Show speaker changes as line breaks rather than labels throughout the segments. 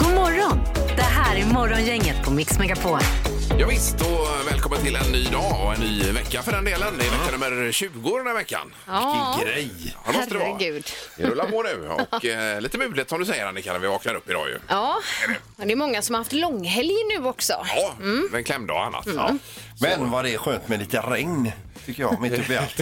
God morgon! Det här är Morgongänget på Mix Megapol.
Ja, visst, och välkommen till en ny dag och en ny vecka för den delen. Det är vecka nummer 20 den här veckan.
Ja,
Grej! Ja, det måste det vara.
herregud.
Det rullar på nu och eh, lite mulet som du säger Annika när vi vaknar upp idag ju.
Ja, men det är många som har haft långhelg nu också.
Ja,
Mm.
en klämdag och annat. Ja.
Men vad det är skönt med lite regn, tycker jag, mitt uppe i allt.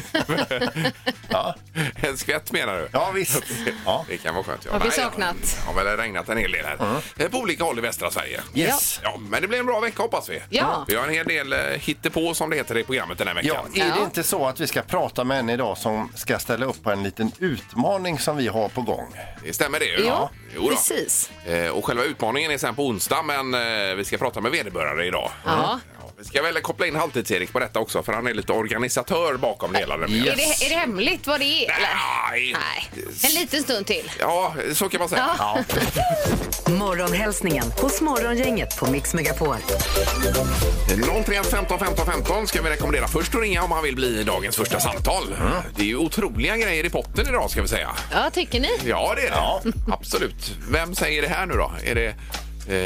ja,
En skvätt menar du?
ja, visst. Ja. Mm.
Det kan vara skönt. Ja.
Har vi
Nej,
saknat?
Ja, men det har regnat en hel del här. Eh, På olika håll i västra Sverige.
Yes.
Ja, men det blir en bra vecka hoppas vi.
Ja.
Vi har en hel del eh, hittepå som det heter i programmet den här
Ja,
veckan.
är det
Ja.
inte så att vi ska prata med en idag som ska ställa upp på en liten utmaning som vi har på gång?
Det stämmer det ju.
Ja,
Jo då.
precis.
Eh, Och själva utmaningen är sen på onsdag men eh, vi ska prata med vederbörande idag. Mm.
Ja.
Ja, Vi ska väl koppla in Halvtids-Erik på detta också för han är lite organisatör bakom det hela. nämligen.
Är, det, är det hemligt vad det är? Eller?
Nej.
Nej, en liten stund till.
Ja, så kan man säga.
Morgonhälsningen hos Morgongänget på Mix Megapol.
031 15 15 15 ska vi rekommendera först att ringa om han vill bli dagens första samtal. Det är ju otroliga grejer i potten idag ska vi säga.
Ja, tycker ni?
Ja, det är det. Absolut. Vem säger det här nu då? Är det... Eh, är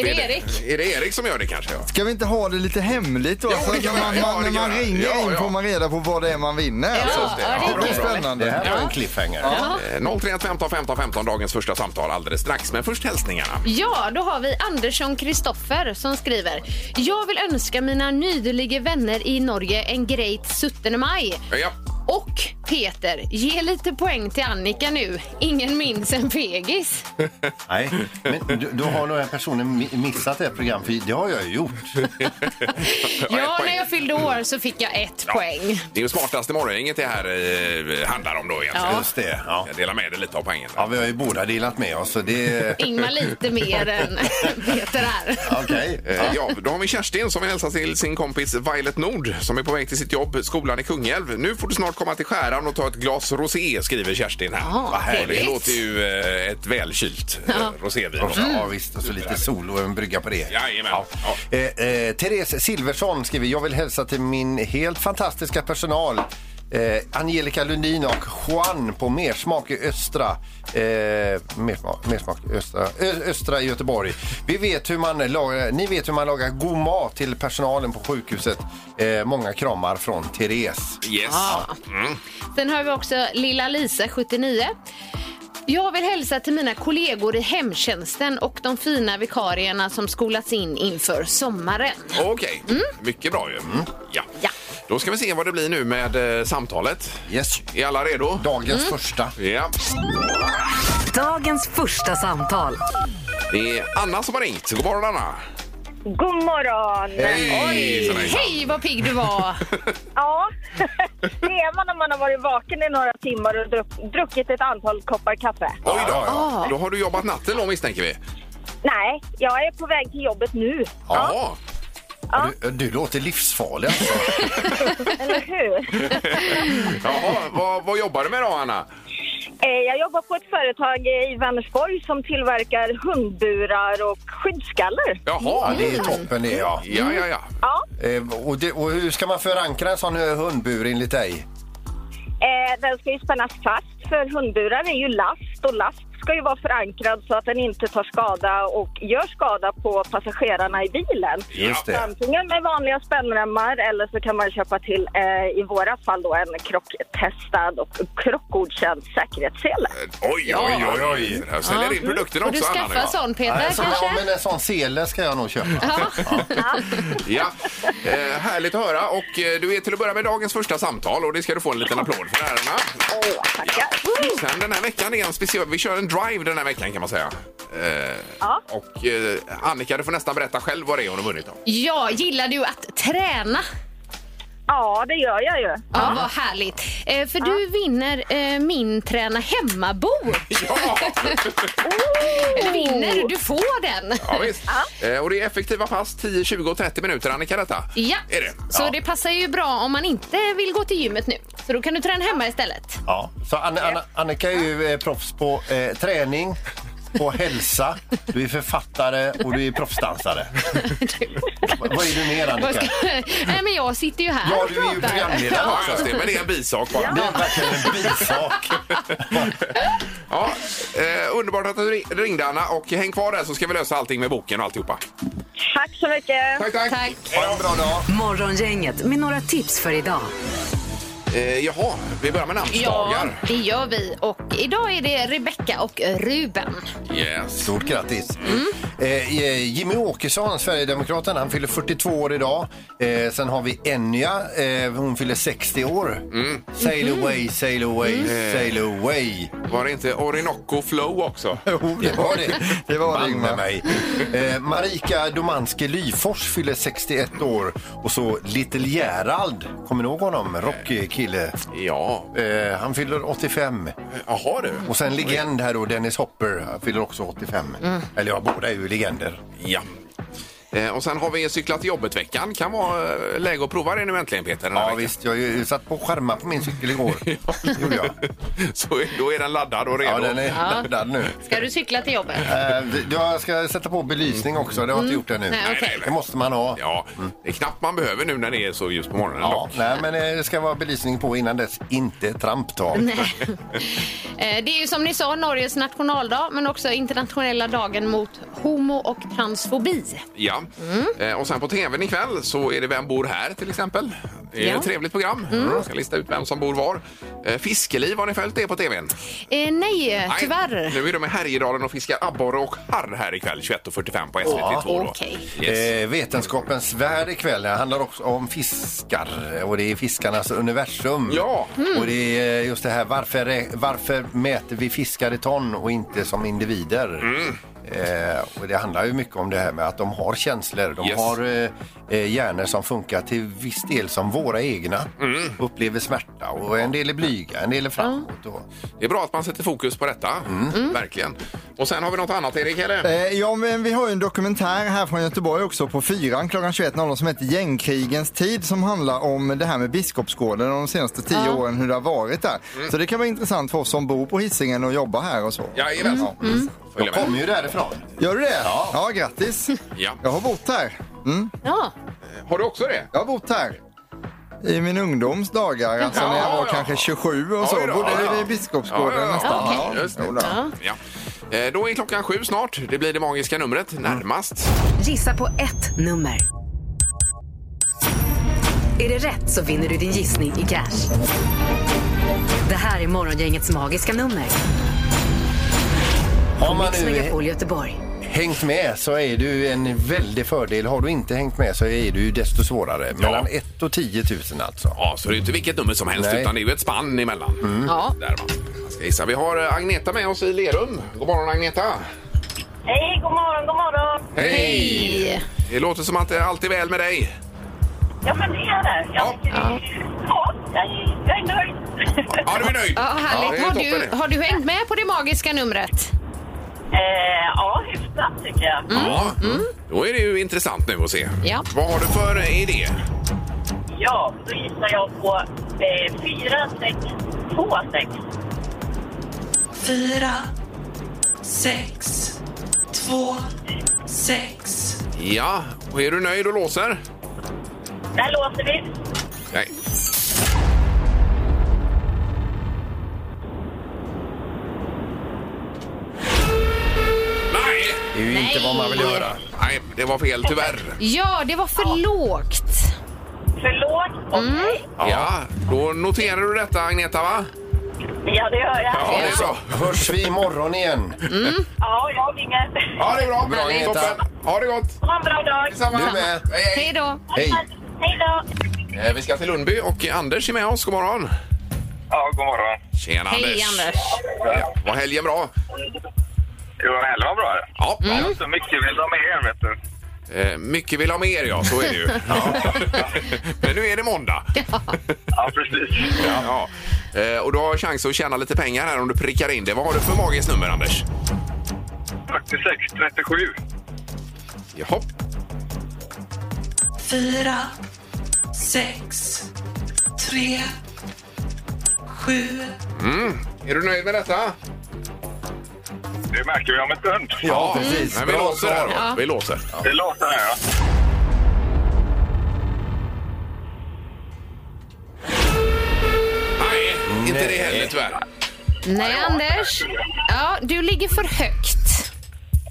Erik?
Är det Erik som gör det kanske? Ja.
Ska vi inte ha det lite hemligt då?
Jo,
så
det
att
kan
när
vi
man,
göra. Ja,
man,
det
när man
kan vi
ringer
göra. Ja,
in
ja.
får man reda på vad det är man vinner.
Ja, ja,
det
det
blir
är kul.
Det
spännande.
här var en cliffhanger.
Eh, 031 15 15 15, dagens första samtal alldeles strax. Men först hälsningarna.
Ja, då har vi Andersson Kristoffer som skriver. Jag vill önska mina nydeliga vänner i Norge en great 17 maj.
Ja,
Och Peter, ge lite poäng till Annika nu. Ingen minns en fegis.
Nej, men du, då har nog den personen mi- missat ett program, för det har jag ju gjort.
Ja,
poäng.
när jag fyllde år så fick jag ett poäng.
det är ju smartaste morgongänget det här eh, handlar om då egentligen.
Just det. Ja.
Jag delar med dig lite av poängen.
ja, vi har ju båda delat med oss, så det...
Ingmar lite mer än Peter här.
Okej.
Eh, Ja, då har vi Kerstin som vill hälsa till sin kompis Violet Nord som är på väg till sitt jobb, skolan i Kungälv. Nu får du snart komma till skäran och ta ett glas rosé, skriver Kerstin här.
Ja,
Vad härligt. det
trevligt.
låter ju eh, ett välkylt eh, rosévin.
Ja, Ja, visst. Och så lite sol och en brygga på det.
Jajamän. Ja.
Eh, eh, Therese Silversson skriver, jag vill hälsa till min helt fantastiska personal. Eh, Angelica Lundin och Juan på Mersmak i Östra, eh, Mersmak, Mersmak Östra, Ö, Östra i Göteborg. Vi vet hur man lagar, ni vet hur man lagar god mat till personalen på sjukhuset. Eh, många kramar från Therese.
Yes.
Ah. Sen har vi också lilla Lisa, 79. Jag vill hälsa till mina kollegor i hemtjänsten och de fina vikarierna som skolats in inför sommaren.
Okej, mycket bra ju. Mm. Ja.
Mm. Ja.
Då ska vi se vad det blir nu med eh, samtalet.
Yes.
Är alla redo?
Dagens första.
Ja.
Dagens första samtal.
Det är Anna som har ringt. God morgon, Anna.
God morgon!
Hej!
Hej, vad pigg du var!
Ja, det är man när man har varit vaken i några timmar och druck, druckit ett antal koppar kaffe.
Oj då. Då har du jobbat natten då misstänker vi.
Nej, jag är på väg till jobbet nu.
Ja.
Du, du låter livsfarlig alltså.
Eller hur?
Jaha, vad, vad jobbar du med då, Anna?
Eh, Jag jobbar på ett företag i Vänersborg som tillverkar hundburar och skyddskallar.
Ja,
Jaha.
det är toppen det ja.
Ja, ja, ja.
Ja,
Eh, och, det, och hur ska man förankra en sån eh, hundbur enligt dig?
eh, den ska ju spännas fast för hundburar är ju last och last ska ju vara förankrad så att den inte tar skada och gör skada på passagerarna i bilen.
Just det.
Antingen med vanliga spännremmar eller så kan man köpa till, eh, i våra fall då, en krocktestad och krockgodkänd säkerhetssele.
Oj, oj, oj, oj. Här säljer in produkterna
Får du
också, Anna.
skaffa
nu, va?
en sån, Peter,
Nej, så, ja,
kanske?
men en sån sele ska jag nog köpa.
Ja. Eh, härligt att höra. Och eh, du är till att börja med dagens första samtal och det ska du få en liten applåd för. Här, Anna.
Åh, tackar.
Sen den här veckan är en speciell... Vi kör en drive den här veckan kan man säga. Eh,
Ja.
Och eh, Annika, du får nästan berätta själv vad det är hon har vunnit. Då.
Ja, gillar du att träna?
Ja, det gör jag ju.
Ja, vad härligt. Eh, för du vinner eh, min träna hemma-bok.
Ja,
Eller vinner, du får den.
ja visst. Eh, Och det är effektiva pass 10, 20 och 30 minuter, Annika, detta.
Ja,
Är det?
så
Ja.
det passar ju bra om man inte vill gå till gymmet nu. Så då kan du träna hemma istället.
Ja. Så Anna, Anna, Annika är ju eh, proffs på eh, träning, på hälsa, du är författare och du är proffsdansare. V- Vad är du mer
Vad
Annika?
ska- Nej, men jag sitter ju här
Ja,
och
du är ju
pratar.
programledare
Ja,
också.
just det. Men det är en bisak bara.
Det är verkligen en bisak.
Ja, eh, underbart att du ri- ringde, Anna. Och häng kvar där så ska vi lösa allting med boken och alltihopa.
Tack så mycket.
Tack, tack.
Tack.
Ha en bra dag.
Morgongänget med några tips för idag.
Eh, jaha, vi börjar med
Ja,
namnsdagar.
det gör vi. Och idag är det Rebecca och Ruben.
Yes.
Stort grattis!
Mm.
Eh, eh, Jimmy Åkesson, Sverigedemokraten, han fyller 42 år idag. Eh, sen har vi Enya, eh, hon fyller 60 år. Sail away, sail away,
Mm.
sail away.
Var det inte Orinoco Flow också?
Jo, Oh, det var det.
Det var det,
Banne
Ingmar.
mig. Eh, Marika Domanski Lyfors fyller 61 år. Och så Little Gerald, kommer ni ihåg honom? Rockkille.
Ja.
Eh, han fyller 85.
Jaha du.
Och sen legend här då, Dennis Hopper, han fyller också 85. Eller ja, båda är ju legender.
Ja. Eh, och sen har vi cykla till jobbet-veckan. Kan vara eh, läge att prova det nu äntligen Peter. den här
Ja
veckan.
visst, jag har ju satt på skärmar på min cykel igår. Det gjorde jag.
Så då är den laddad och redo.
Ja, den är laddad nu.
Ska du cykla till jobbet?
Eh, det- Jag ska sätta på belysning också, det har jag inte gjort ännu.
Nej, okej.
Det måste man ha.
Ja, det är knappt man behöver nu när det är så ljust på morgonen.
Ja,
dock.
nej, men eh, det ska vara belysning på innan dess. Inte tramptag.
Nej. Eh, Det är ju som ni sa Norges nationaldag men också internationella dagen mot homo och transfobi.
Ja.
Mm.
Eh, och sen på tvn ikväll så är det Vem bor här till exempel. Det är
Ja. Mm.
ett trevligt program. Jag ska lista ut vem som bor var. Eh, Fiskeliv, har ni följt det på tvn?
Eh, nej,
Nej,
tyvärr.
nu är de i Härjedalen och fiskar abborre och harr här ikväll 21.45 på SVT2. då.
Okej.
Yes.
Eh, vetenskapens värld ikväll det handlar också om fiskar och det är fiskarnas universum.
Ja.
Och det är just det här varför, rä- varför mäter vi fiskar i ton och inte som individer?
Mm.
Eh, och det handlar ju mycket om det här med att de har känslor. De
Yes.
har eh, eh, hjärnor som funkar till viss del som våra egna.
Mm.
Upplever smärta och en del är blyga, en del är framåt. Och,
Det är bra att man sätter fokus på detta. Mm. Verkligen. Och sen har vi något annat Erik, eller?
Mm. Eh, Ja, men vi har ju en dokumentär här från Göteborg också på fyran klockan 21.00 som heter Gängkrigens tid som handlar om det här med Biskopsgården och de senaste tio åren hur det har varit där.
Mm.
Så det kan vara intressant för oss som bor på Hisingen och jobbar här och så. Mm.
Jajamän. Mm. Följ
jag
med.
kommer ju därifrån.
Gör du det? Ja, ja grattis.
Ja.
Jag har bott här.
Ja.
Har du också det?
Jag har bott här. I min ungdoms dagar, alltså när jag
Ja,
var
ja.
kanske 27 och så,
Oj då,
bodde
ja.
vi i Biskopsgården
Ja, ja,
nästan.
ja. Okej. Just det.
Jo då.
Ja. Eh, Då är klockan sju snart. Det blir det magiska numret närmast.
Gissa på ett nummer. Är det rätt så vinner du din gissning i cash. Det här är Morgongängets magiska nummer.
Har man
Mix
nu
Megapol Göteborg.
hängt med så är du en väldig fördel. Har du inte hängt med så är du desto svårare. Mellan 1 och 10 000 alltså.
Ja, så det är ju inte vilket nummer som helst
Nej.
utan det är ju ett spann emellan.
Mm.
Ja.
Där va. Jag ska gissa. Vi har eh, Agneta med oss i Lerum. God morgon Agneta!
Hej, god morgon, god morgon.
Hej.
Det låter som att det är allt är väl med dig.
Ja, men det är det.
Ja.
Jag, ja. jag, är- jag är nöjd.
Ja, du är nöjd?
Ja, härligt.
det är
har,
toppen
du,
det.
har du hängt med på det magiska numret?
eh, ja, hyfsat tycker jag.
Ja, då är det ju intressant nu att se.
Mm. Ja.
Vad har du för eh, idé?
Ja, då gissar jag på eh, 4, 6, 2, 6.
Fyra, sex, två, sex.
Ja, och är du nöjd och låser?
Där låter vi.
Nej. Nej!
Det är ju inte vad man vill göra.
Nej, det var fel tyvärr.
Ja, det var för lågt.
Förlåt.
Mm.
Okej.
Ja. då noterar du detta Agneta va?
Ja, det gör jag.
Ja, det är bra.
Hörs vi imorgon igen?
Ja, jag ringer.
Ja, det är bra.
Bra, Agneta.
Toppen. Ha det gott.
Ha en bra dag.
Detsamma.
Du med.
Hej, hej.
Hej då.
Hej!
Hej då.
Eh, Vi ska till Lundby och Anders är med oss. God morgon.
Ja, god morgon.
Tjena
Hej, Anders.
Ja, var helgen bra?
Jo, helgen var bra.
Ja.
Mm.
Så mycket vill de med er, vet du.
Eh, mycket vill ha mer, ja. Så är det ju. Ja. Men nu är det måndag.
Ja, precis.
Ja. Eh, och du har chans att tjäna lite pengar här om du prickar in det. Vad har du för magiskt nummer, Anders?
46, 37.
Jaha.
fyra, sex, tre, sju,
Mm. Är du nöjd med detta?
Det märker vi om en stund.
Ja, precis.
Men vi
Bra
låser här
svar.
då.
Ja.
Vi låser.
Det låter här, ja.
Nej, inte det heller tyvärr.
Nej, Anders. Ja, du ligger för högt.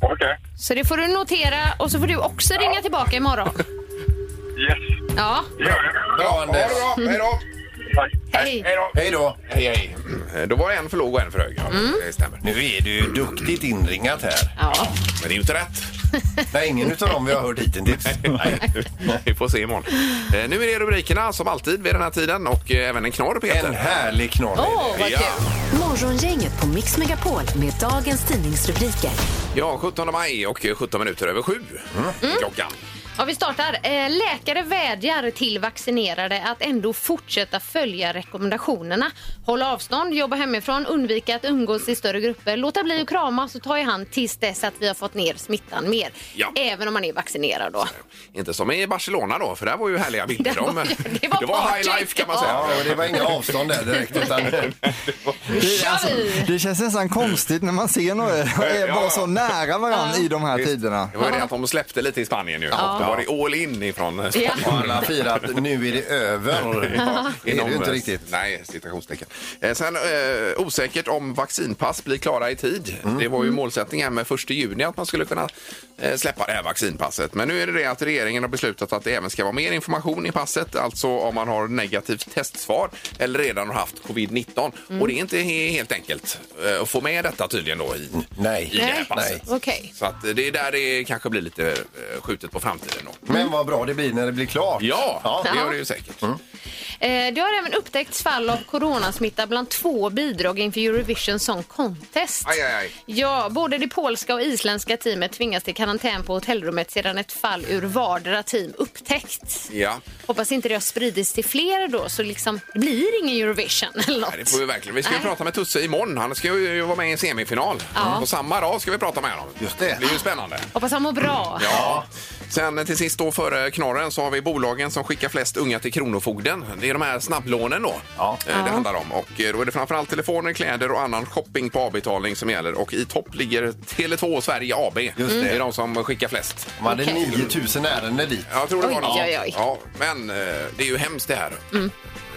Okej.
Så det får du notera och så får du också ringa tillbaka imorgon.
Yes.
Ja,
Det gör jag.
Bra,
Ha det
Anders.
bra. Hej då.
Tack.
hej.
Hej då.
Hej då.
Hej, hej. Eh, Då var det en för låg och en för hög. Ja, Det stämmer.
Nu är du ju duktigt inringat här.
Ja.
Men det är ju inte rätt.
Nej, ingen utav dem vi har hört hittills.
Vi får se imorgon. Eh, Nu är det rubrikerna som alltid vid den här tiden och eh, även en knorr,
En
Peter.
härlig knorr.
Åh, vad
Ja.
kul.
Morgongänget på Mix Megapol med dagens tidningsrubriker.
Ja, 17 maj och eh, 17 minuter över sju är klockan.
Ja, vi startar. Eh, Läkare vädjar till vaccinerade att ändå fortsätta följa rekommendationerna. Håll avstånd, jobba hemifrån, undvika att umgås i större grupper, låta bli att kramas och ta i hand tills dess att vi har fått ner smittan mer.
Ja.
Även om man är vaccinerad då.
Inte som i Barcelona då, för där var ju härliga bilder.
Det var-
De-
det var
det var
party.
high life kan man säga.
Ja, och det var inga avstånd där direkt. Utan
Nu kör
alltså-
vi!
alltså, Det känns nästan konstigt när man ser några är bara så nära varandra i de här tiderna.
Det var ju det att de släppte lite i Spanien nu. Ja. Då var det all in ifrån Spanien.
Och alla firar att nu är det över. Det är det
Inom,
ju inte
eh,
riktigt.
Nej, citationstecken. Eh, sen eh, osäkert om vaccinpass blir klara i tid.
Mm.
Det var ju målsättningen med 1 juni att man skulle kunna eh, släppa det här vaccinpasset. Men nu är det det att regeringen har beslutat att det även ska vara mer information i passet. Alltså om man har negativt testsvar eller redan har haft covid-19.
Mm.
Och det är inte he- helt enkelt eh, att få med detta tydligen då i,
Nej.
i det alltså. här
Nej.
passet.
Okej.
Så att eh, det är där det kanske blir lite eh, skjutet på framtiden då.
Men vad bra det blir när det blir klart.
Ja,
Ja. Mm.
det gör det ju säkert.
Eh, Det har även upptäckts fall av coronasmitta bland två bidrag inför Eurovision Song Contest.
Aj, aj, aj.
Ja, både det polska och isländska teamet tvingas till karantän på hotellrummet sedan ett fall ur vardera team upptäckts.
Ja.
Hoppas inte det har spridits till fler då, så liksom, det blir ingen Eurovision eller något.
Nej, det får vi verkligen. Vi ska ju
Nej.
prata med Tusse imorgon. Han ska ju vara med i en semifinal.
Ja.
Och samma dag ska vi prata med honom.
Just det.
blir ju spännande.
Hoppas han mår bra.
Ja. Sen till sist då före knorren så har vi bolagen som skickar flest unga till Kronofogden. Det är de här snabblånen då
Ja.
eh, det handlar om. Och eh, då är det framförallt telefoner, kläder och annan shopping på avbetalning som gäller. Och i topp ligger Tele2 Sverige AB.
Just det.
det är de som skickar flest.
De hade
Okej.
9000 ärenden dit.
Jag tror det var
Oj,
något.
oj, Mm. oj.
Ja, men eh, det är ju hemskt det här. Eh,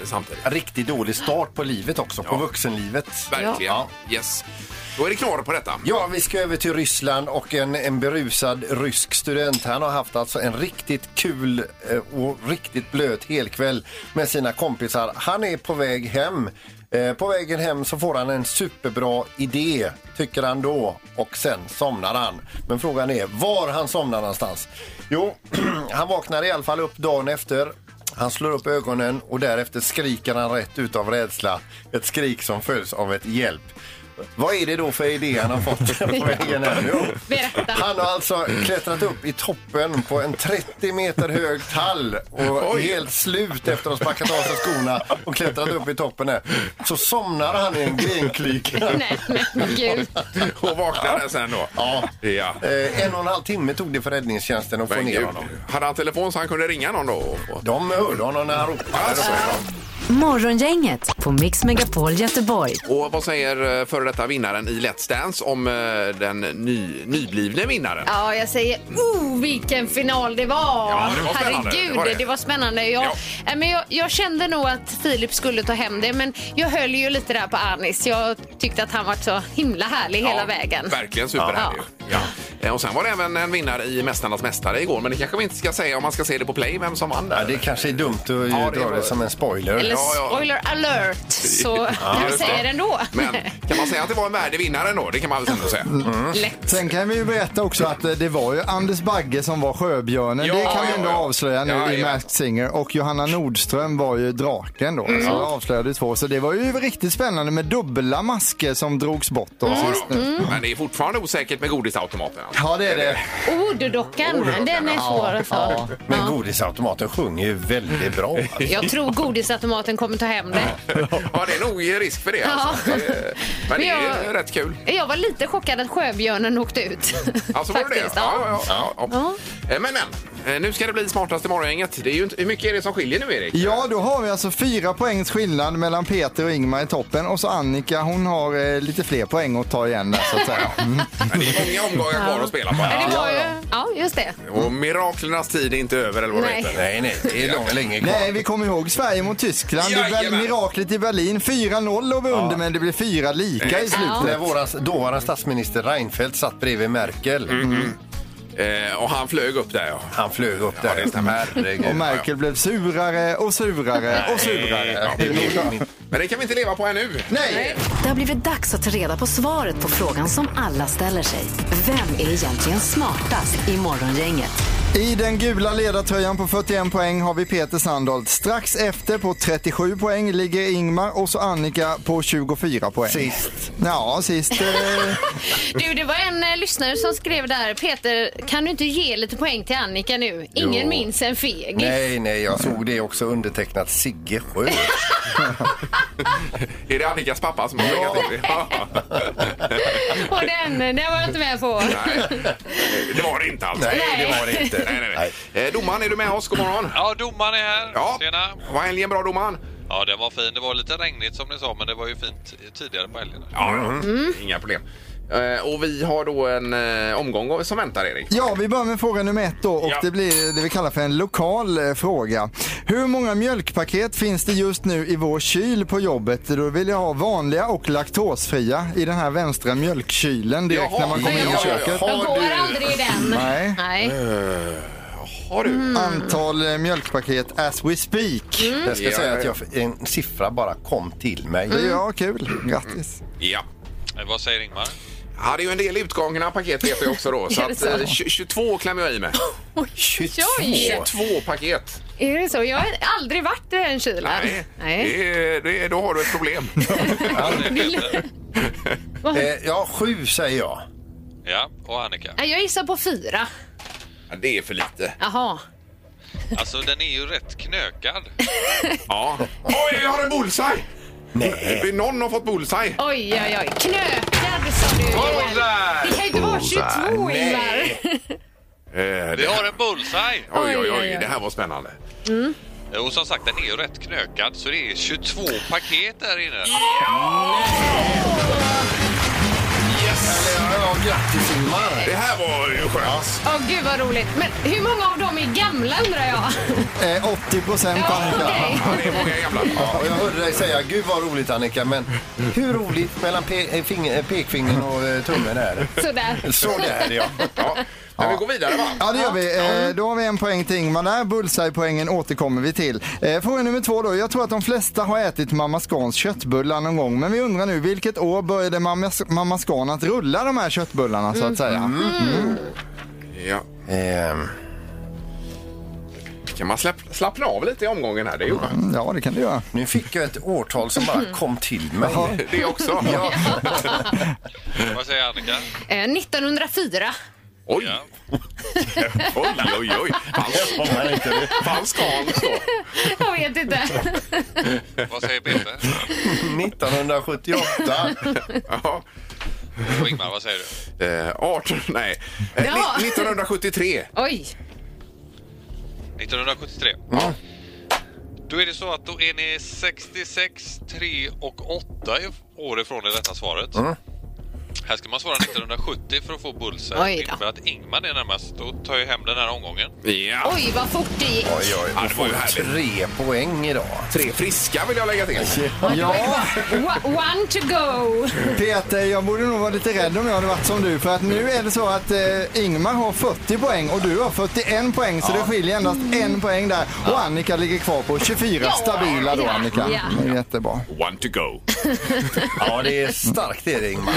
Samtidigt.
Riktigt dålig start på livet också, på vuxenlivet.
Verkligen.
Ja.
Yes. Då är det knorr på detta.
Ja, vi ska över till Ryssland och en, en berusad rysk student. Han har haft alltså en riktigt kul eh, och riktigt blöt helkväll med sina kompisar. Han är på väg hem. Eh, På vägen hem så får han en superbra idé, tycker han då, och sen somnar han. Men frågan är var han somnar någonstans. Jo, han vaknar i alla fall upp dagen efter han slår upp ögonen och därefter skriker han rätt ut av rädsla. Ett skrik som följs av ett hjälp. Vad är det då för idé han har fått på vägen här? Jo,
Berätta.
Han har alltså klättrat upp i toppen på en 30 meter hög tall och
Oj.
är helt slut efter att ha sparkat av sig skorna och klättrat upp i toppen här. Så somnar han i en grenklyka.
Nej, men gud.
Och vaknade sen då.
Ja.
ja.
Eh, En och en halv timme tog det för räddningstjänsten att få
Men
ner
gud.
honom.
Hade han telefon så han kunde ringa någon då? Och- och-
De hörde honom när han ropade.
Alltså.
Morgongänget på Mix Megapol Göteborg.
Och vad säger eh, före detta vinnaren i Let's Dance om eh, den ny, nyblivne vinnaren?
Ja, jag säger oh, vilken final det var!
Ja, det var spännande.
Herregud,
Det var det.
det var spännande. Jag,
Ja.
Nej, men jag, jag kände nog att Filip skulle ta hem det, men jag höll ju lite där på Anis. Jag tyckte att han var så himla härlig hela vägen.
Verkligen superhärlig.
Ja.
ju. Ja. Eh, Och sen var det även en vinnare i Mästarnas mästare igår, men det kanske vi inte ska säga om man ska se det på play, vem som vann
Ja,
där.
det kanske är dumt att
Ja, det
dra
var-
det som en spoiler.
Eller
Ja, ja.
spoiler alert, så jag
just
säger det ändå.
Men kan man säga att det var en värdig vinnare då? Det kan man väl ändå säga.
Mm.
Mm.
Lätt.
Sen kan vi ju berätta också att eh, det var ju Anders Bagge som var sjöbjörnen.
Ja,
det kan vi
ja,
ändå
ja.
avslöja nu
Ja,
i
ja.
Masked Singer. Och Johanna Nordström var ju draken då.
Mm.
Så det avslöjade ju två. Så det var ju riktigt spännande med dubbla masker som drogs bort. Då,
Ja,
sist
då.
nu.
Mm.
Men det är fortfarande osäkert med alltså. godisautomaterna.
Ja, det är det.
Och Woody-dockan, den är svår alltså.
Ja. Men godisautomaten sjunger ju väldigt bra. Alltså.
Jag tror godisautomaten kommer ta hem det.
Ja, det är nog risk för det. Alltså.
Ja.
Det- Men det är ju
Ja.
rätt kul.
Jag var lite chockad att sjöbjörnen åkte ut.
Alltså var det det?
Faktiskt,
Ja, ja, ja, ja. Eh, Men, men, eh, nu ska det bli smartast i morgongänget. Det är ju inte, hur mycket är det som skiljer nu, Erik?
Ja, då har vi alltså fyra poängs skillnad mellan Peter och Ingmar i toppen och så Annika, hon har eh, lite fler poäng att ta igen där så att säga. Mm.
Men det är många omgångar kvar att spela på.
Ja,
här.
det var ju... ja just det.
Och miraklernas tid är inte över, eller vad det
Nej.
heter.
Nej, nej, det är långt, länge kvar.
Nej, vi kommer ihåg Sverige mot Tyskland. Det blev
Jajamän.
miraklet i Berlin. 4-0 låg vi under men det blev fyra lika i
När
slutet.
vår dåvarande statsminister Reinfeldt satt bredvid Merkel.
Eh, och han flög upp där, ja.
Han flög upp där.
det stämmer.
Herregud.
Och Merkel blev surare och surare och surare.
Ja, det är min-
Men det kan vi inte leva på ännu.
Nej!
Det har blivit dags att ta reda på svaret på frågan som alla ställer sig. Vem är egentligen smartast i Morgongänget?
I den gula ledartröjan på 41 poäng har vi Peter Sandholt. Strax efter på 37 poäng ligger Ingmar och så Annika på 24 poäng.
Sist.
Ja, sist. Eh,
Du, det var en eh, lyssnare som skrev där, Peter, kan du inte ge lite poäng till Annika nu? Ingen
Jo.
minns en fegis.
Nej, nej, jag såg det också undertecknat Sigge Sjö.
Är det Annikas pappa som har legat till det? Ja.
Och den, eh, den var jag inte med på.
Nej, det var det inte alls.
Nej, det var det inte.
Nej, nej, nej. Eh, domaren, är du med oss? God morgon.
Ja, domaren är här.
Ja,
Tjena.
var helgen bra domaren?
Ja, den var fin. Det var lite regnigt som ni sa, men det var ju fint tidigare på helgen.
Ja, inga problem. Eh, Och vi har då en eh, omgång som väntar, Erik.
Ja, vi börjar med fråga nummer ett då och
Ja.
det blir det vi kallar för en lokal eh, fråga. Hur många mjölkpaket finns det just nu i vår kyl på jobbet? Då vill jag ha vanliga och laktosfria i den här vänstra mjölkkylen direkt
Jaha,
när man kommer in i
ja, ja, ja.
köket.
Jag går aldrig i den.
Nej.
Nej.
Har du?
Antal eh, mjölkpaket as we speak.
Jag ska
Ja,
säga
ja.
att jag, en siffra bara kom till mig.
Ja, kul. Grattis.
Ja.
Eh, Vad säger Ingmar?
Ja, det är ju en del utgångna paket vet jag också då. Så
Är det
att, eh, 20 22 klämmer jag i mig.
22.
Oj!
22 paket.
Är det så? Jag har aldrig varit i den kylen.
Nej,
Nej.
Det, är- det, är- då har du ett problem.
Eh, ja, sju säger jag.
Ja, och Annika.
Nej, Jag gissar på fyra.
Ja, det är för lite.
Jaha.
Alltså, den är ju rätt knökad.
Ja. Oj, jag har en bullseye! Nej. Någon har fått bullseye.
Oj, oj, oj. Knökad sa du. Johan. Det kan ju inte vara 22, Ingvar.
Eh,
Vi
det,
har en bullseye!
oj, oj,
Oj, oj,
oj.
oj.
Det här var spännande.
Eh, Och som sagt, den är ju rätt knökad, så det är 22 paket där inne.
Yes!
Ja, ja, grattis Ingmar.
Det här var ju skönt.
Åh, gud vad roligt. Men hur många av dem är gamla undrar jag?
Eh, 80 procent
Ja,
Annika.
okej.
Ja, det är många gamla.
Ja, och jag hörde dig säga, gud vad roligt Annika, men hur roligt mellan pe- eh, fing- eh, pekfingern och eh, tummen är?
Sådär.
Så där ja.
Ja. Men vi går vidare va?
Ja, det gör vi. Eh, då har vi en poäng till Ingmar där. Bullseye-poängen återkommer vi till. Eh, fråga nummer två då. Jag tror att de flesta har ätit Mamma Scans köttbullar någon gång. Men vi undrar nu, vilket år började Mamma, Mamma Scan att rulla de här köttbullarna så att säga? Mm,
Ja.
Ehm,
Kan man slapp, slappna av lite i omgången här? Det är ju skönt.
Ja, det kan du göra.
nu fick jag ett årtal som bara kom till mig.
Mm.
Det också.
Ja,
Vad säger Annika?
Eh, 1904.
Oj!
Ja.
Oj, oj, oj. Falsk Hans då.
Jag vet inte.
Vad säger Peter?
1978.
Ja.
Och Ingmar, vad säger du?
Eh, 18, nej. Eh,
Ja.
ni- 1973.
Oj.
1973.
Mm.
Då är det så att då är ni 66, 3 och 8 i- år ifrån det rätta svaret. Här ska man svara 1970 för att få
Oj
bullseye.
då.
Det innebär att Ingmar är närmast. Då tar jag hem den här omgången.
Ja.
Oj, vad fort det gick.
Oj, oj,
Ja, det var ju härligt.
tre poäng idag.
Tre friska vill jag lägga till.
Ja,
Wa- One to go.
Peter, jag borde nog vara lite rädd om jag hade varit som du. För att nu är det så att eh, Ingmar har 40 poäng och du har 41 poäng. Så det skiljer endast en poäng där. Och Annika ligger kvar på 24 stabila då,
ja,
Annika.
ja.
Jättebra.
One to go.
Ja, det är starkt det är det, Ingmar.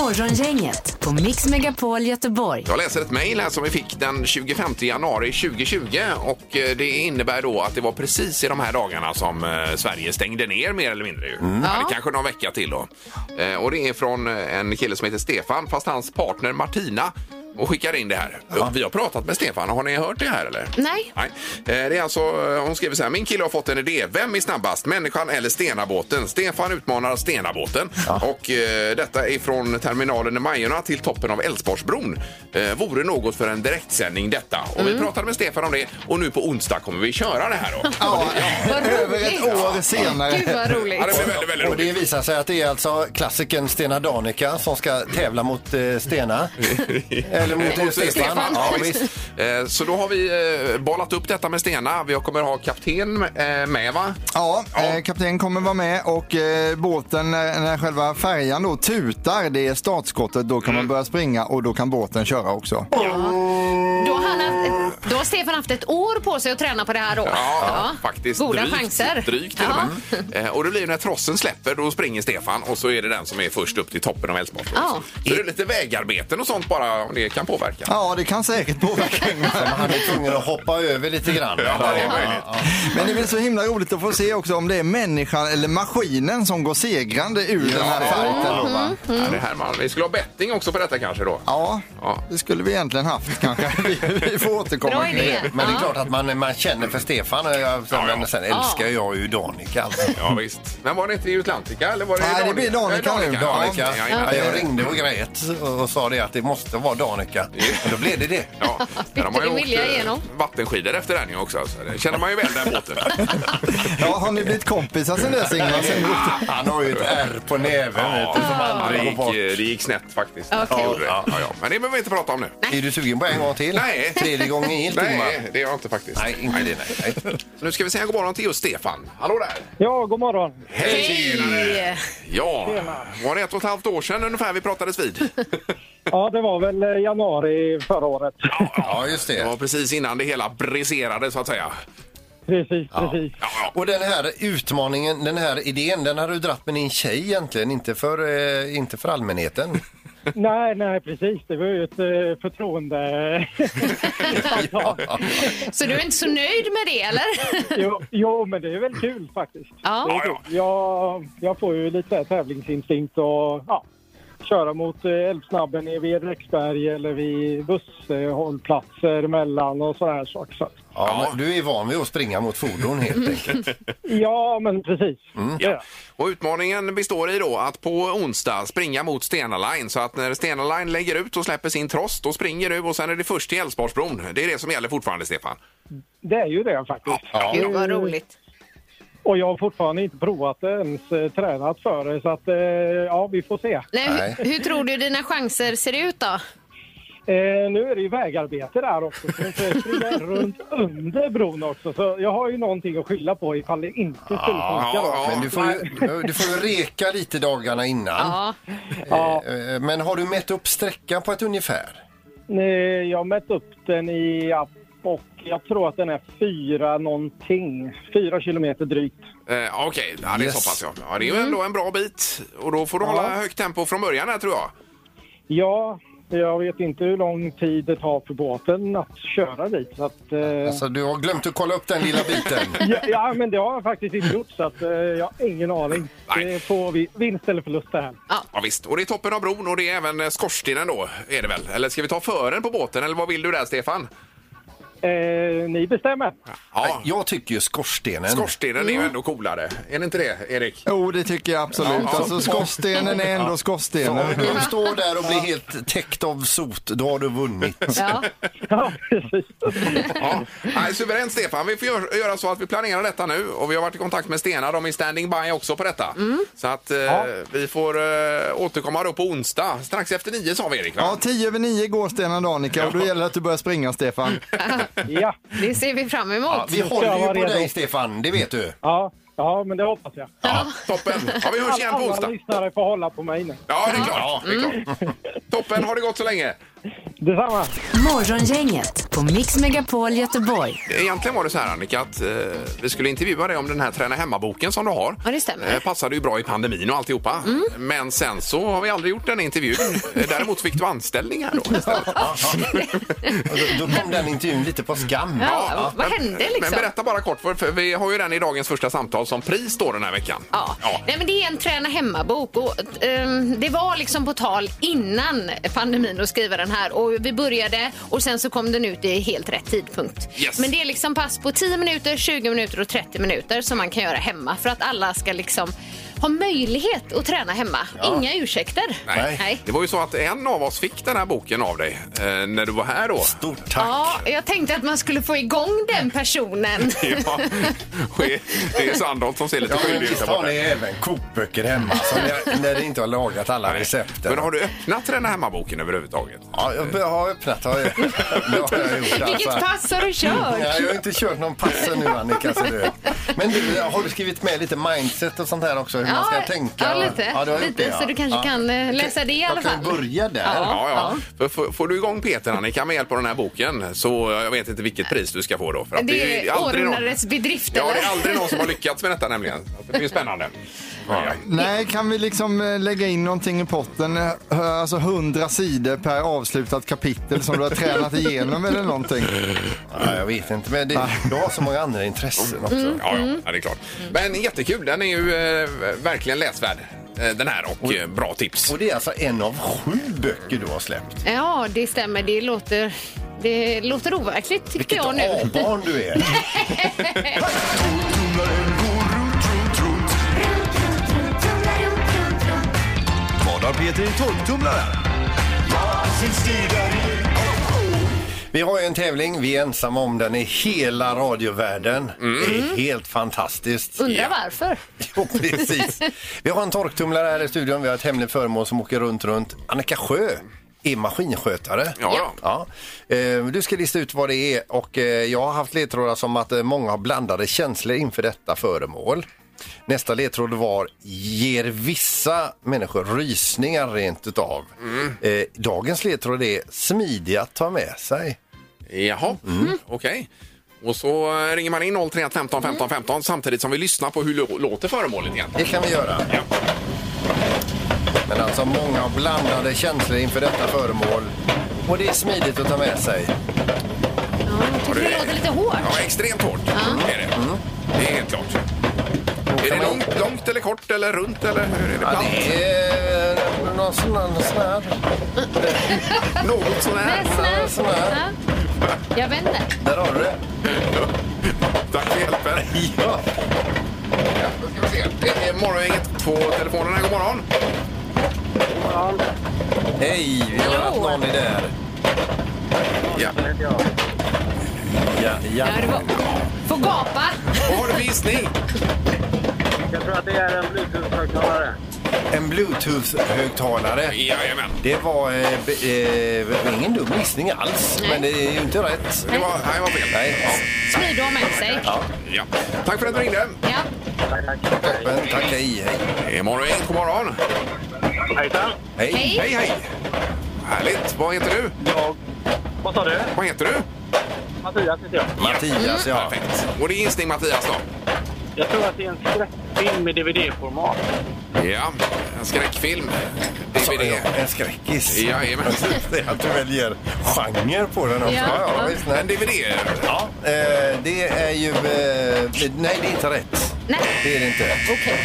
Morgongänget på Mix Megapol Göteborg.
Jag läser ett mejl här som vi fick den 25 januari 2020 och eh, det innebär då att det var precis i de här dagarna som eh, Sverige stängde ner mer eller mindre. Ju. Ja.
Ja.
Det kanske någon vecka till då. Eh, Och det är från eh, en kille som heter Stefan fast hans partner Martina och skickar in det här. Och Vi har pratat med Stefan. Har ni hört det här eller?
Nej.
Nej. Eh, Det är alltså, eh, hon skriver så här. Min kille har fått en idé. Vem är snabbast? Människan eller Stenabåten? Stefan utmanar Stenabåten. Och eh, detta är från terminalen i Majorna till toppen av Älvsborgsbron. Eh, vore något för en direktsändning detta. Och vi pratade med Stefan om det och nu på onsdag kommer vi köra det här då.
Ja,
Vad
över
roligt.
ett år senare.
Gud vad
Ja, det
roligt.
blir väldigt, väldigt
Och det
roligt.
visar sig att det är alltså klassiken Stena Danica som ska tävla mot eh, Stena. Eller mot eh, Stefan. Ja, visst.
Eh, Så då har vi eh, bollat upp detta med Stena. Vi kommer ha kapten eh, med va?
Ja,
Ja.
Eh, kapten kommer vara med och eh, båten när, när själva färjan då tutar, det är startskottet, då kan
Mm.
man börja springa och då kan båten köra också.
Då har, han haft, då har Stefan haft ett år på sig att träna på det här då.
Ja, faktiskt.
Goda
drygt,
chanser.
Drygt till
ja.
och med. Eh, Och det blir ju när trossen släpper, då springer Stefan och så är det den som är först upp till toppen av Älvsborg.
Ja.
Så det är lite vägarbeten och sånt bara, om det kan påverka.
Ja, det kan säkert påverka Ingmar.
Han är tvungen att hoppa över lite grann.
Ja, det är möjligt.
Men det blir så himla roligt att få se också om det är människan eller maskinen som går segrande ur den här fighten. Då, va?
Ja, det här man, vi skulle ha betting också på detta kanske då.
Ja,
Ja.
det skulle vi egentligen haft kanske. Vi, vi får återkomma.
Bra
till det.
idé.
Men det är klart att man, man känner för Stefan. och jag- Men sen älskar jag ju Danica. alltså.
Ja, visst. Men var det inte i Atlantica? Eller var det i
Nej, det blir Danica
Eh,
nu.
Danica.
Danica.
Ja,
Ja,
jajamän.
jag ringde och grät och sa det att det måste vara Danica. Men då blev det det.
Ja, men de har
Bytte
ju
din
åkt
vilja
eh,
igenom.
vattenskidor efter den ju också. Så det känner man ju väl den båten.
Ja, har ni blivit kompisar sen dess Ingmar? Sen vi åkte-
Han har ju ett ärr på näven.
Ja,
vet du, som
det,
aldrig går
gick,
bort.
eh, det gick snett faktiskt.
Okej.
Ja, det gjorde det. Ja, ja. Men det behöver vi inte prata om nu.
Är du sugen på en gång till?
Nej.
Tredje gången gillt, Ingmar.
Nej, det är jag inte faktiskt.
Nej, inte det. Nej, nej.
Så nu ska vi säga god morgon till just Stefan. Hallå där!
Ja, god morgon.
Hej!
Ja, var det ett och ett halvt år sedan ungefär vi pratades vid?
Ja, det var väl eh, januari förra året.
Ja, just
Det var
det.
precis innan det hela briserade så att säga.
Precis, precis.
Ja, ja.
Och den här utmaningen, den här idén, den har du dratt med din tjej egentligen, inte för, eh, inte för allmänheten.
Nej, nej, precis. Det var ju ett eh, förtroende...
Så du är inte så nöjd med det eller?
jo, jo, men det är väl kul faktiskt. Det är
Ja.
kul. Jag, jag får ju lite så här tävlingsinstinkt och ja, köra mot eh, Älvsnabben i- vid Rexberg eller vid busshållplatser emellan och sådana här saker. Så. att-
Ja, men du är van vid att springa mot fordon helt enkelt.
Mm.
Mm.
Ja, men precis.
Ja. Och utmaningen består i då att på onsdag springa mot Stena Line så att när Stena Line lägger ut och släpper sin tross då springer du och sen är det först till Älvsborgsbron. Det är det som gäller fortfarande Stefan.
Det är ju det faktiskt. Mm.
Gud vad roligt.
Och jag har fortfarande inte provat det ens, eh, tränat för det. Så att, eh, ja, vi får se.
Nej,
Nej.
Hur, hur tror du dina chanser ser ut då?
Eh, nu är det ju vägarbete där också. Så jag får springa runt under bron också. Så jag har ju någonting att skylla på ifall det inte skulle funka.
ja,
då.
Men du får ju, du får ju reka lite dagarna innan.
Ja.
Ja,
Eh, Men har du mätt upp sträckan på ett ungefär?
eh, jag har mätt upp den i app och jag tror att den är fyra någonting. Fyra kilometer drygt.
Eh, Okej, ja, det är
Yes. Mm.
så pass ja. ja. Det är ju ändå en bra bit och då får du hålla högt tempo från början här tror jag.
Ja, jag vet inte hur lång tid det tar för båten att köra dit. Så att, eh,
Alltså, du har glömt att kolla upp den lilla biten.
ja, ja, men det har jag faktiskt inte gjort så att, eh, jag har ingen aning.
Nej.
Det får vi vinst eller förlust det här.
Ja, visst. Och det är toppen av bron och det är även eh, skorstenen då, är det väl? Eller ska vi ta fören på båten eller vad vill du där, Stefan?
Eh, ni bestämmer.
Ja,
Jag tycker ju skorstenen.
skorstenen är ju ändå coolare. Är det inte det, Erik?
Jo, det tycker jag absolut.
Ja.
Alltså skorstenen är ändå
Om
skorstenen.
du står där och blir helt täckt av sot, då har du vunnit.
Ja.
Ja, precis.
Ja. Nej, suveränt, Stefan. Vi får gör, göra så att vi planerar detta nu och vi har varit i kontakt med Stena. De är standing by också på detta. Så att eh, vi får eh, återkomma då på onsdag. Strax efter nio sa vi, Erik.
Ja,
Va?
tio över nio går Stena Danica och då gäller det att du börjar springa Stefan.
Ja,
Det ser vi fram emot.
Ja, vi håller ju på dig, Stefan. Det vet du.
ja, ja, men det hoppas jag.
Ja, toppen. Ja, vi hörs igen på
Alla
onsdag.
lyssnare får hålla på mig nu.
Mm. Ja, det är klart. Det är klart. Toppen. Har det gått så länge.
Detsamma.
Morgongänget på Mix Megapol Göteborg.
Egentligen var det så här Annika att eh, vi skulle intervjua dig om den här träna hemma-boken som du har.
Ja, det stämmer. Mm.
Eh, passade ju bra i pandemin och alltihopa. Men sen så har vi aldrig gjort den intervjun. Eh, Däremot fick du anställning här då istället.
Då kom den intervjun lite på skam.
Ja, vad hände liksom?
Men berätta bara kort, för, för vi har ju den i dagens första samtal som pris då den här veckan.
Ja. Nej, men det är en träna hemma-bok. Och, ehm, det var liksom på tal innan pandemin att skriva den här. Och vi började och sen så kom den ut i helt rätt tidpunkt.
Yes.
Men det är liksom pass på 10 minuter, 20 minuter och 30 minuter som man kan göra hemma för att alla ska liksom ha möjlighet att träna hemma. Inga ursäkter.
Nej. Det var ju så att en av oss fick den här boken av dig eh, när du var här då.
Stort tack.
Ja, jag tänkte att man skulle få igång den personen.
Ja, det är Sandholt som ser lite
Ja, men
skyldig ut
visst
där
har
borta.
ni även kokböcker hemma som jag, när ni inte har lagat alla recepten?
Men har du öppnat den här hemmaboken överhuvudtaget?
Ja, jag har öppnat. Har jag, det har jag gjort, alltså.
Vilket pass har du kört?
Nej, jag har inte kört någon pass nu Annika. Så du. Men du, har du skrivit med lite mindset och sånt här också? Hur man ska tänka?
Ja, lite.
Ja, du har gjort
lite
det, ja.
Så du kanske
Ja.
kan eh, läsa det i alla
jag
fall.
kan börja där.
Ja, ja. För, får- får du igång Peter Annika med hjälp av den här boken så jag vet inte vilket pris du ska få då. För att
Det
ju
är århundradets bedrift,
Ja, det
eller?
är aldrig någon som har lyckats med detta nämligen. Det är ju spännande. Ja, ja.
Nej, kan vi liksom eh, lägga in någonting i potten? eh, Alltså 100 sidor per avslutat kapitel som du har tränat igenom eller någonting.
Ja, jag vet inte, men det, du har så många andra intressen också.
Mm.
Ja, ja, ja, det är klart. Men jättekul, den är ju eh, verkligen läsvärd eh, den här och eh, bra tips.
Och det är alltså en av sju böcker du har släppt.
Ja, det stämmer. Det låter, det låter overkligt tycker
Vilket
jag nu.
A-barn du är.
Vad har Peter i torktumlaren?
Vi har ju en tävling, vi är ensamma om den i hela radiovärlden.
Mm.
Det är helt fantastiskt.
Undrar varför.
Jo, precis. Vi har en torktumlare här i studion, vi har ett hemligt föremål som åker runt, runt. Annika Sjö är maskinskötare.
Ja, ja.
Ja. Eh, Du ska lista ut vad det är och eh, jag har haft ledtrådar som att eh, många har blandade känslor inför detta föremål. Nästa ledtråd var ger vissa människor rysningar rent utav. Eh, Dagens ledtråd är smidiga att ta med sig.
Jaha, mm. okej. Och så eh, ringer man in 031 15 15 15 samtidigt som vi lyssnar på hur lå- låter föremålet
Det
egentligen.
kan vi göra.
Ja.
Men alltså många har blandade känslor inför detta föremål och det är smidigt att ta med sig.
Ja, jag tycker det låter lite hårt. Mm.
Ja, extremt hårt är det. Det är helt klart. Är det långt, långt eller kort eller runt eller hur är det?
Ja,
Bland-
det är någon sån här... Någon sån här.
Något sånär.
Ja, sån här.
Jag vänder.
Där har du det.
Tack för hjälpen.
Ja.
Ja, då ska vi se. Det är morgongänget på telefonen. här. God morgon.
Hej, vi har haft någon i där.
Ja.
Ja, ja.
Ja, det var... Får gapa.
Vad har du för gissning?
Jag tror att det är en bluetooth-högtalare.
En bluetooth-högtalare.
Jajamän.
Det var eh, b- eh, det var ingen dum gissning alls, men det är ju inte rätt.
Det var, nej, det var fel.
Nej, ja.
Smid och ha med sig.
Ja. ja. Tack för att du ringde.
Ja.
men tack, hej, hej.
Det är morgongänget. God morgon.
Hejsan!
Hej.
Hej.
Hej, hej. Härligt. Vad heter du?
Jag... Vad sa du?
Vad heter du?
Mattias heter jag.
Mattias, ja.
Perfekt. Och det är gissning Mattias då?
Jag tror att det är en skräckfilm i DVD-format.
Ja. En skräckfilm.
Sa
DVD.
jag, En skräckis.
Jajamän.
Det är att du väljer genre på den också.
Ja. Ja.
visst, nej.
En DVD.
Ja, eh, det är ju... Eh, nej, det är inte rätt.
Nej,
Det är det inte.
okej.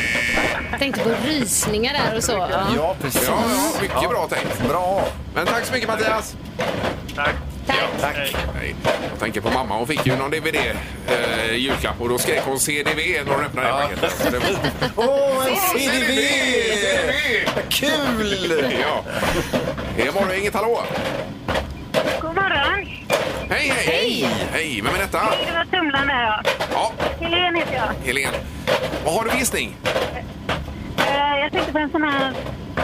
Tänkte på rysningar där och så. Ja.
Ja, precis.
Ja, ja, mycket bra tänkt.
Bra.
Men tack så mycket Mattias.
Tack.
Tack.
Tack.
Nej, jag tänker på mamma. Hon fick ju någon DVD eh, i julklapp och då skrek hon CDV när hon öppnade det paketet. Så det var-
Åh, en CDV! Kul!
Ja. Det var inget hallå.
God morgon.
Hej, hej! Hej! Hej, vem är detta?
Det var Tumlaren här, ja.
Ja,
Helene heter jag.
Helen. Vad har du för gissning?
Eh, Jag tänkte på en sån här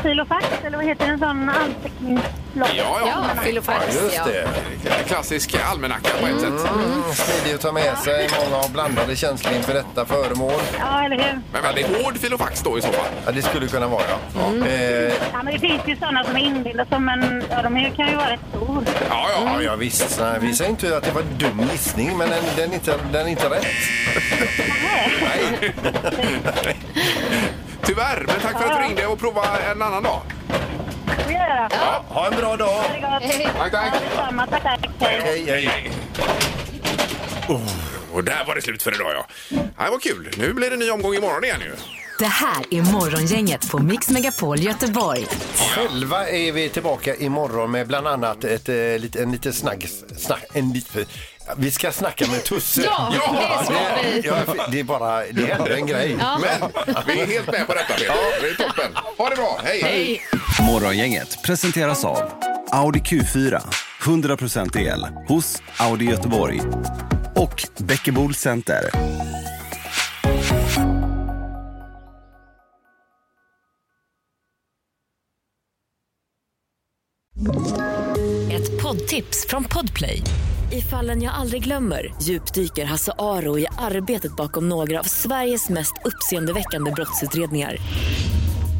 silofax, eller vad heter det? En sån antecknings... loppet.
Ja, Filofax.
Just det.
Eh, Klassisk almanacka på ett sätt.
Mm, smidig att ta med sig. Många har blandade känslor inför detta föremål.
Ja, eller hur?
Men väldigt hård filofax då i så fall.
Ja, det skulle kunna vara, ja.
Mm.
Eh,
Ja, men det finns ju sådana som är inbillade som en... Ja, de kan ju vara rätt stor.
Ja, ja.
ja, ja visst. Nej, vi säger inte att det var en dum gissning, men den, den, är inte, den är inte rätt.
Tyvärr, men tack för att du ringde och prova en annan dag.
Det får jag göra.
Ja, ha en bra dag.
Ha det gott.
Tack, tack.
Ja, detsamma. Tack, tack. Hej.
Hej, hej.
Oh, Och där var det slut för idag ja. Det var kul. Nu blir det en ny omgång imorgon igen ju.
Det här är Morgongänget på Mix Megapol Göteborg.
Själva är vi tillbaka imorgon med bland annat ett, eh, lit- en liten snagg... Snack, en lit, vi ska snacka med Tusse.
Ja, det ska vi.
ja, det är bara... Det händer en grej.
Men vi är helt med på detta Peter. Det är toppen. Ha det bra. Hej. Hej.
Morgongänget presenteras av Audi Q4. 100% el hos Audi Göteborg. Och Bäckebol Center.
Ett poddtips från Podplay. I fallen jag aldrig glömmer djupdyker Hasse Aro i arbetet bakom några av Sveriges mest uppseendeväckande brottsutredningar.